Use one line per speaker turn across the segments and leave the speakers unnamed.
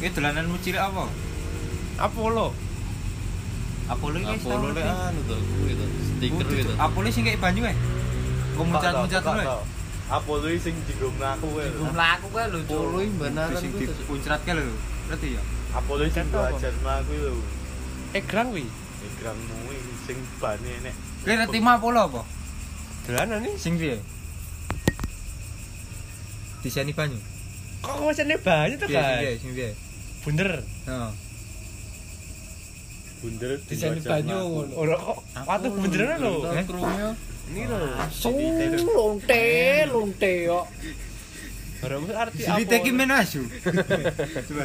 Iki dolananmu cilik apa?
Apollo.
Apollo ah. iki wis tau
Apollo le
ngerti.
anu to, kuwi to,
Oh,
stiker gitu. kuwi to.
duduk- Apollo sing kayak banyu eh. Kok muncat-muncat
Tak, tak,
lho.
tak, tak. Apollo iki sing digomno aku kowe.
mlaku kae lho, Apollo iki beneran
Sing
kuwi to.
eh? dipuncrat kae lho. Ngerti ya?
Apollo iki sing
Kan tau,
belajar sama aku lho.
Eh gerang kuwi.
Egrangmu iki sing bane nek.
Kowe ngerti mah Apollo apa?
Dolanan iki.
Sing piye? Diseni banyu.
Kok wacane banyak to,
Piye sing piye
Guys?
sing piye?
Bunder.
Heeh.
Bunder
Desain
belajar
banyu
sama aku.
ngono. Ora kok watu bunderan lho.
Eh?
Ini lho.
Lonte, lonte yo.
Ora mesti arti
Jadi teki menasu. Coba.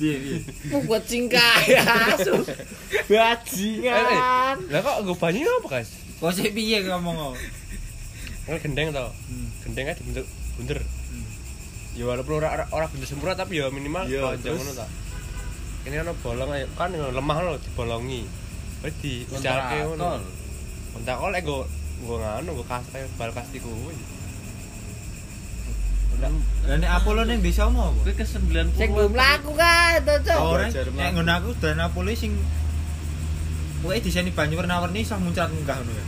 Piye piye?
Mu buat singkai asu. Bajingan.
Eh, Lah kok nggo banyu apa, Guys?
Kok sik piye ngomong kok?
Kan gendeng to.
Hmm.
Gendeng ae dibentuk bunder. Ya walaupun ora ora, ora bunder sempurna tapi ya minimal
Iya,
panjang
terus?
ngono ta. Ini ono bolong ae kan lemah lho dibolongi. Wis diujarke ngono. Entar kok lek nggo nggo nganu nggo kas kayak bal pasti kuwi.
Lah nek Apollo ning bisa mau apa?
Kuwi ke 90.
Sing belum laku kan, Cok.
Ora,
Belajar
nek ngono aku dan Apollo sing Pokoknya diseni banyu warna-warni iso muncrat munggah ngono ya.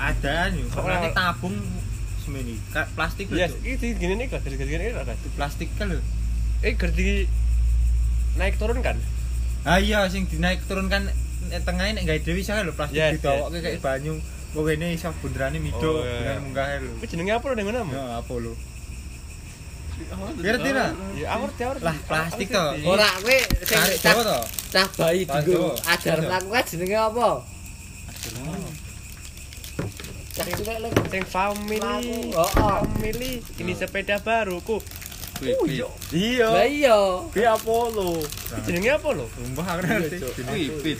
Adaan yo,
Kok
karena
ora-
tabung semene Ka- plastik lho.
Iya,
Cuk.
iki gini nih guys, gini gini nih guys.
Di plastik kan lho.
Eh gerdi naik turun kan?
Ah iya sing dinaik turunkan nek tengahe nek gawe dhewe iso kan lho plastik
Yes,
ditawokke
yes,
kayak
yes.
banyu. Kok ngene iso bunderane
Oh,
midho,
iya.
bunderan munggah lho.
Kuwi jenenge apa lho ning ngono? Am?
Ya Apollo. Ngerti lah.
Ya aku ngerti, aku ngerti.
Lah, plastik
Aku ngerti.
toh.
Ora kowe sing
Tarik
cah
Jawa to.
cah bayi
Tarik
dulu.
Jawa.
Ajar
Iya.
laku kan jenenge apa? Cah cilik lek
Sing family.
Laku, oh, oh.
Family ini sepeda baruku.
Kuwi, kuwi.
Iya.
Lah iya.
Kuwi Apollo.
Iki jenenge apa lho?
Sumpah aku ngerti.
Cuk.
Kuwi fit.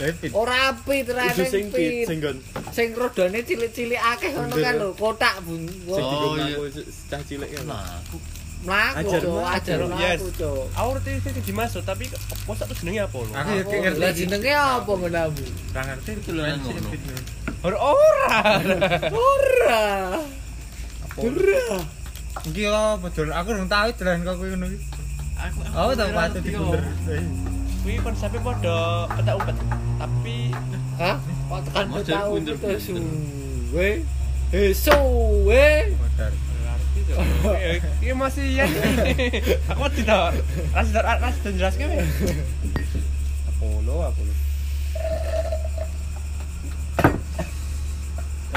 David.
Ora apit
Isu
rene
sing pit,
pit.
sing gon.
Sing rodane cilik-cilik akeh ngono
Bunder.
kan lho, kotak bun.
Sing
Oh,
digomno
iya.
aku cah cilik kan.
Mlaku.
Mlaku,
Ajar
Cok.
mlaku.
Ajar
Yes.
laku, Cok.
Aku ngerti iki dimaksud tapi apa sak jenenge apa lho?
Aku ya
Apa?
ngerti.
Lah jenenge apa ngono?
Ora ngerti iki
lho,
lho.
yang ngono.
Ora ora.
Ora. Ora.
Iki apa dol? Aku urung tau dolan kok kuwi ngono iki.
Aku
Oh, tak
ora
patut
ngerti,
dibunder.
yo.
Kuwi konsepe padha petak umpet. Tapi
Hah? Kok tekan
Mau jadi
tahu
bunder,
itu
bunder.
suwe. Eh suwe.
Modar.
ora ngerti toh. Eh, Iki masih ya. Aku ngerti toh. Ras ras dan jelaske weh.
Apollo, Apollo.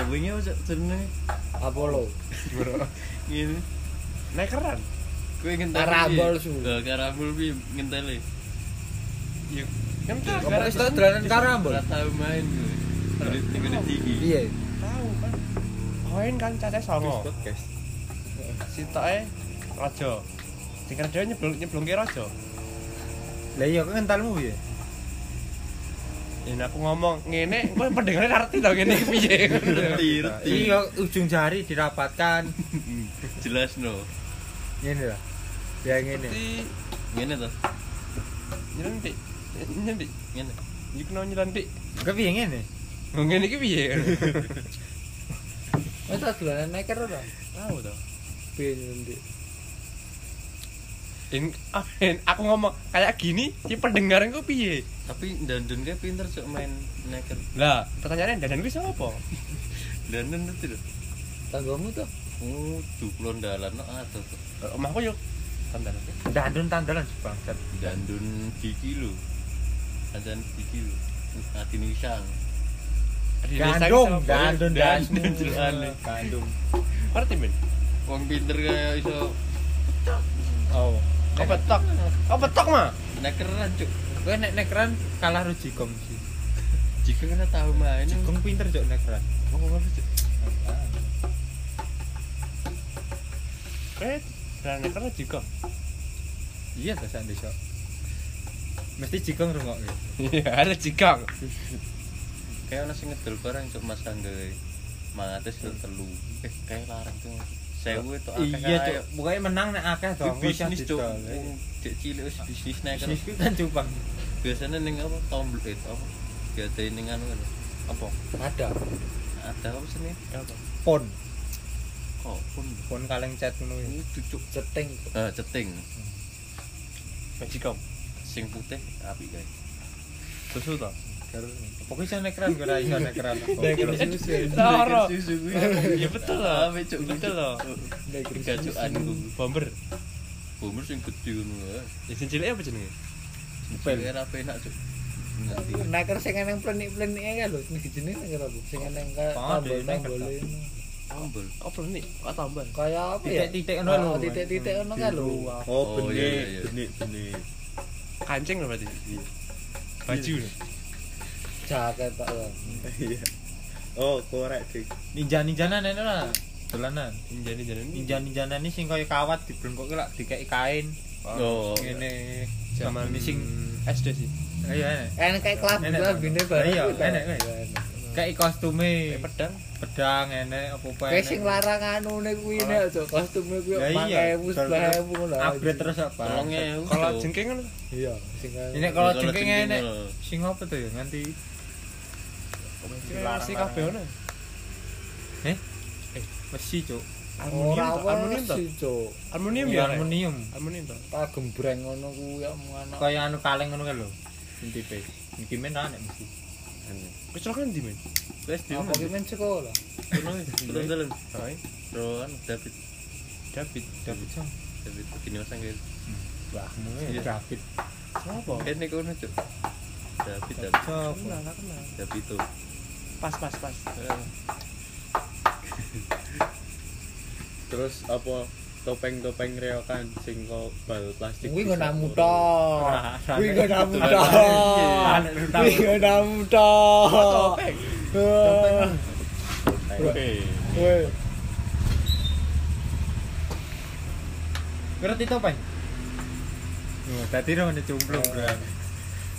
Awingnya wis jenenge Iya,
Apollo.
ngene.
Naik keran.
Kuwi ngenteni.
Karambol, su.
Lah karambol kuwi ngenteni.
Iya. Kental
Apa
gara
wis tau dolanan karambol?
Ora tau main kuwi. Dari tiga detik iki.
Piye?
tahu kan. Koin kan cacahe songo.
Podcast.
sitoke raja sing kerja nyeblung nyeblungke raja
Lah iya kok kentalmu piye?
yen aku ngomong ngene kowe pendengare ngerti to ngene iki piye
Ngerti, ngerti.
Iya ujung jari dirapatkan.
Jelas no.
Ngene lah. Ya ngene.
Ngerti.
Ngene to.
nyelendik nyelendik
Ngene.
iki kena nyelendik
Kok piye ngene?
Oh, ngene iki piye
Wis tak dolanan neker ora?
tahu to
Ben ndi.
In, ah, in- aku ngomong kayak gini si pendengaran ku piye
Tapi dandun kae pinter cok main neker.
lah pertanyaannya dandan ku sapa
Dandun ngerti lho.
Tanggamu to?
Oh, duklon dalan no adoh. to.
omahku yo dandan
Dandun tandalan bangsat.
Dandun gigi lho. Dandun gigi lho. Ati nisang.
Gandung, gandung,
Dandun jelane.
Gandung.
ngerti men
Wong pinter kaya iso
Oh.
kok petok kok petok mah
nekeran cok.
Kowe nek nekran kalah Rujikong sih.
Jika kena tahu main.
Jigong pinter cok nekran.
Wong ngono cok.
eh dan karena juga
Iya ta sak desa. Mesti Jigong rungokke.
iya ada jikang
kayak ono sing ngedol barang cok Mas Kangga mangates ke telu eh kayak larang tuh sewu itu akeh
Iya cok, pokoknya menang nek akeh to.
cok
Aku isah
bisnis cok
didol.
Wong cek cilik wis bisnis nek
eh. Bisnis ku kan cupang.
biasanya ning apa tombol itu apa biasanya ning anu lho. apa
Ada.
ada apa sini apa
Pon.
kok pun
Pun kaleng cat ngono ya.
cucuk
Ceting.
eh ceting
Magicom.
sing putih api guys
Susu to.
Pokoke iso nek keran ora iso nek keran.
Neker
Eh,
susu.
Toro.
susu gue
Iya betul loh. Betul loh.
Neker susu.
gacuan gue
Bomber.
bumur sing gede ngono ae.
Isin cilik apa jenenge?
Susu gue ra penak cuk ngerti
Neker sing eneng plenik-pleniknya kan lho. Ini jenis neker apa? Sing eneng kayak
Oh, di neker
tombol-tombol
tak.
ini.
tambel
Apa nih? Kok tambah?
Kayak apa ya?
Titik-titik ngono lho.
Oh, Titik-titik ngono kan lho.
oh
Oh, iya, iya, iya.
benih benih benih
Kancing lho berarti. Baju. lho.
Jaket tak lho.
iya oh korek sih
Ninja-ninjanan ini lah. Dolanan.
Injani-injani.
Ninja-ninjanan ini sing kaya kawat diblengkoki lak dikeki kain.
oh
Ngene.
Zaman
Ini sing
SD sih.
iya enek.
Enak kayak kelabu
Enak,
lah bine bareng.
Iya,
gitu.
enak, enak. Kei kostume
Kayak Eh, pedang.
pedang enek apa-apa
Kayak sing larang anu nih kuwi nih aja kostume kuwi
Ya iya,
4000
terus-
12000 ngono. aja.
upgrade terus apa?
tolongnya ya,
Kalau
cuk.
jengking kan
Iya, sing
Ini kalau
Kalau
jengking
jengking
enek.
lho.
Sing apa tuh ya nganti
si kabeh ono.
besi, Cuk.
ora
Aluminium. to, Aluminium
aluminium
to.
sih, Cuk.
Aluminium ya.
Iya,
Rek?
aluminium.
Aluminium to.
Tak gembreng ngono kuwi ya mung anak.
Kaya anu kaleng ngono kan lho. Intipe. Iki men ra enek mesti.
Kecelakaan di men.
wes di
Apa ki men sekolah?
turun turun
Hai.
Rohan David
David.
David Song.
David begini mas Angger
Wah, mulai
Iya.
David.
Sopo?
ini kono cuk David David
Song.
Kenal, nggak kenal.
David itu
Pas pas pas.
terus apa topeng-topeng reokan sing kok bal plastik
Kuwi
bisa
nggo namu
turun. Ah,
to.
Ora, ora
Kuwi nggo
enek.
namu
Ora,
to.
ora
enek. Ora
Kuwi
enek.
nggo namu to.
Topeng.
Wah.
oke
Weh,
Ngerti to, Pak? Yo, tadi ro ngene cumplung, Bro.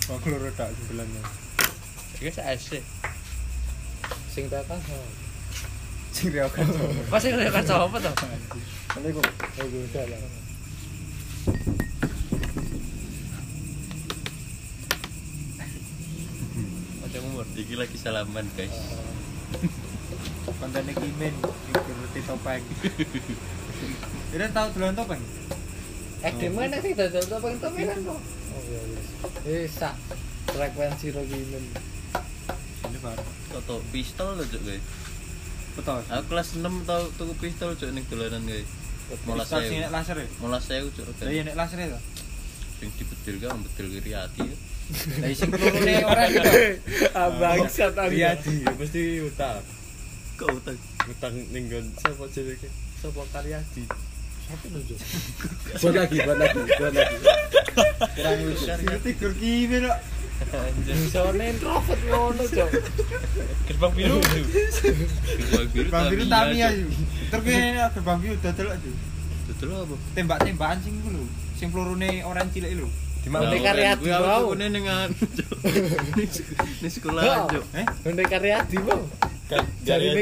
Kok loro tak jumbelan.
Iki saya SD.
sing tak kan. oh.
Sing reo kan.
Pas sing kaya kaca apa to?
Ngene ku.
Oh, gue udah lah.
Kacang umur.
iki lagi salaman guys
Kontene kimen, ngerti topeng. Ira tau dolan topeng?
Eh, di mana sih dodol topeng topengan kok? Oh iya wis. Eh, sak frekuensi ro ki men.
Ini bar.
toto pistol lho cuk guys
Betul.
aku kelas 6 tau tuku pistol cuk ning dolanan guys Mola
Pistol sing
saya
nek laser. ya?
Mola saya cuk
Lah iya
guys
nek laser ya.
sing dibedil kan bedil kiri hati ya
Lah sing loro ora iki.
Abang sat
Iya di mesti utang
kok utang
utang ning nggon sapa jenenge sapa Karyadi
Buat lagi, buat lagi, buat lagi.
Kurang lucu. Tidur kimen kok.
Misalnya introvert ngono, Cok.
Gerbang biru.
gerbang biru
Bang Biru Tamiya yuk. Terus kuwi nek Bang Biru udah delok yuk.
betul apa
Tembak-tembakan sing iku lho. Sing pelurune orang cilik lho.
Di mana?
Nah, Nek karya
Gue
di bawah.
aku tuh ning anu, Cuk. Ning sek- ning sekolah cuk
Eh,
Benda karya di mau. Jarine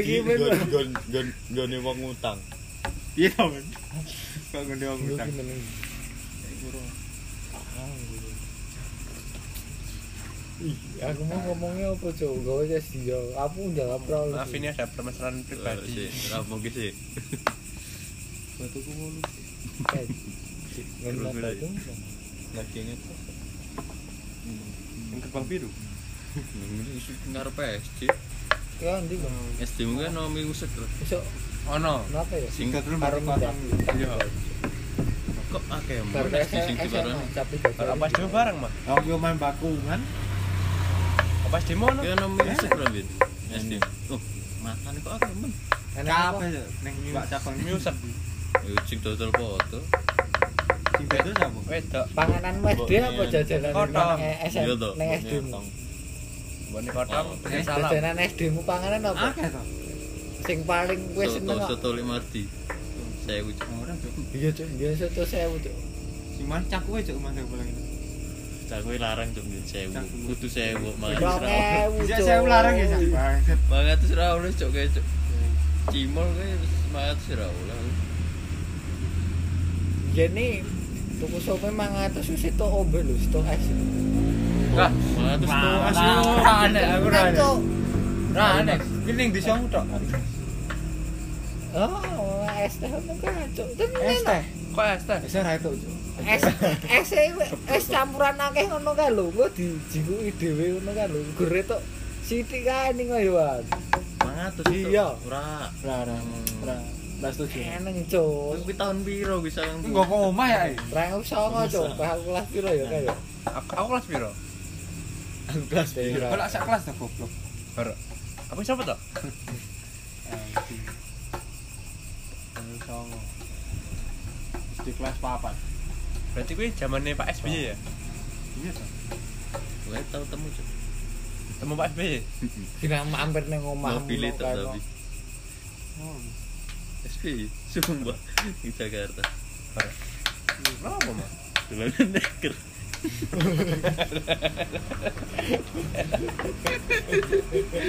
Karyadi
ki men.
nggon nggon nggon nggone wong utang
iya to, Men. Kok ngene wong
Iya,
utang.
Aku mau ngomongnya apa, Cok? Gak usah sih, Cok. Aku udah gak pernah.
Maaf ini ada permasalahan pribadi.
Rampung ki sih.
Batuku mau lu. Eh,
Terus,
Nggak Iya,
terus.
batu.
Lagi inget.
Yang gerbang biru.
Ngarep SD.
Kan di Bang.
SD mungkin nomi uset loh.
Besok
Oh,
Ono.
kenapa ya?
Sing
Dodol
Baru
baru
ngutang.
matang.
iya. Kok akeh yang
Baru
mana SD sing
SMA,
dibaran.
tapi
Kalau apa demo bareng mah?
Wong yo main bakungan.
Apa demo no?
Kayak nomi uset loh, Bin. SD. Oh, makan kok akeh men.
Kabeh Cuk. ning Pak Cabang
Musep.
Yo sing dodol foto.
Sing beda sapa?
Wedok.
Panganan SD apa
Mbok-
jajanan
Kotong.
SMP?
Iya, toh.
Neng SD mu.
Bone kodang.
Oh.
Eh,
pakai Salam.
Jajanan SD mu panganan apa?
Akeh to.
Sing paling gue seneng
Soto
kok.
soto limardi. Saya ucap
Ora, Cuk.
Iya cok, dia soto sewu cok.
Sing mancak kuwe, Cuk, mancak pulang itu.
cangwe larang jam sewu.
Cangwe.
Kudu sewu
Dua
mangan serau.
ewu
Ya
cok.
saya larang ya, Cuk. Bangset.
Mangan serau wis cok kayak cok. Cimol kayak semangat serau lah.
Ya nih, tuku sope mangan atus itu seto ombe lho, seto es.
Eh,
Lah, mangan terus tuh.
Wah,
asyik.
ora enek, aku ora
Kan
enek.
cok.
Ora enek. Kuwi ning desamu tok.
Oh, es teh ono kacuk. Temen
Es
enak.
teh.
Kok es teh?
Wis ora itu.
Es es e- es campuran akeh ngono kae lho, engko dijingkuki dhewe ngono kae lho. Gure tok sithik kae ning kaya wae.
Mangatus itu.
Iya.
Ora.
Ora ora. Ora. Lah setuju.
Eneng cuk.
Kuwi tahun piro kuwi sayang?
Enggak kok omah ya. eh.
Ra usah cuk, aku kelas piro ya kae. ya?
Aku, aku kelas piro?
Aku kelas piro.
Kalau sak kelas tuh goblok.
Baru. Aku siapa toh?
Baru songo. Terus Di kelas papat.
Berarti gue zamannya Pak SBY ya?
Iya toh.
Gue tau temu cuk.
Temu Pak E. SBY.
Dina mampir ning omah.
Mobil
ngono
itu
kae,
tapi.
kok.
Oh,
SPI sumpah di Jakarta.
Kenapa, Mas?
Dolanan neker.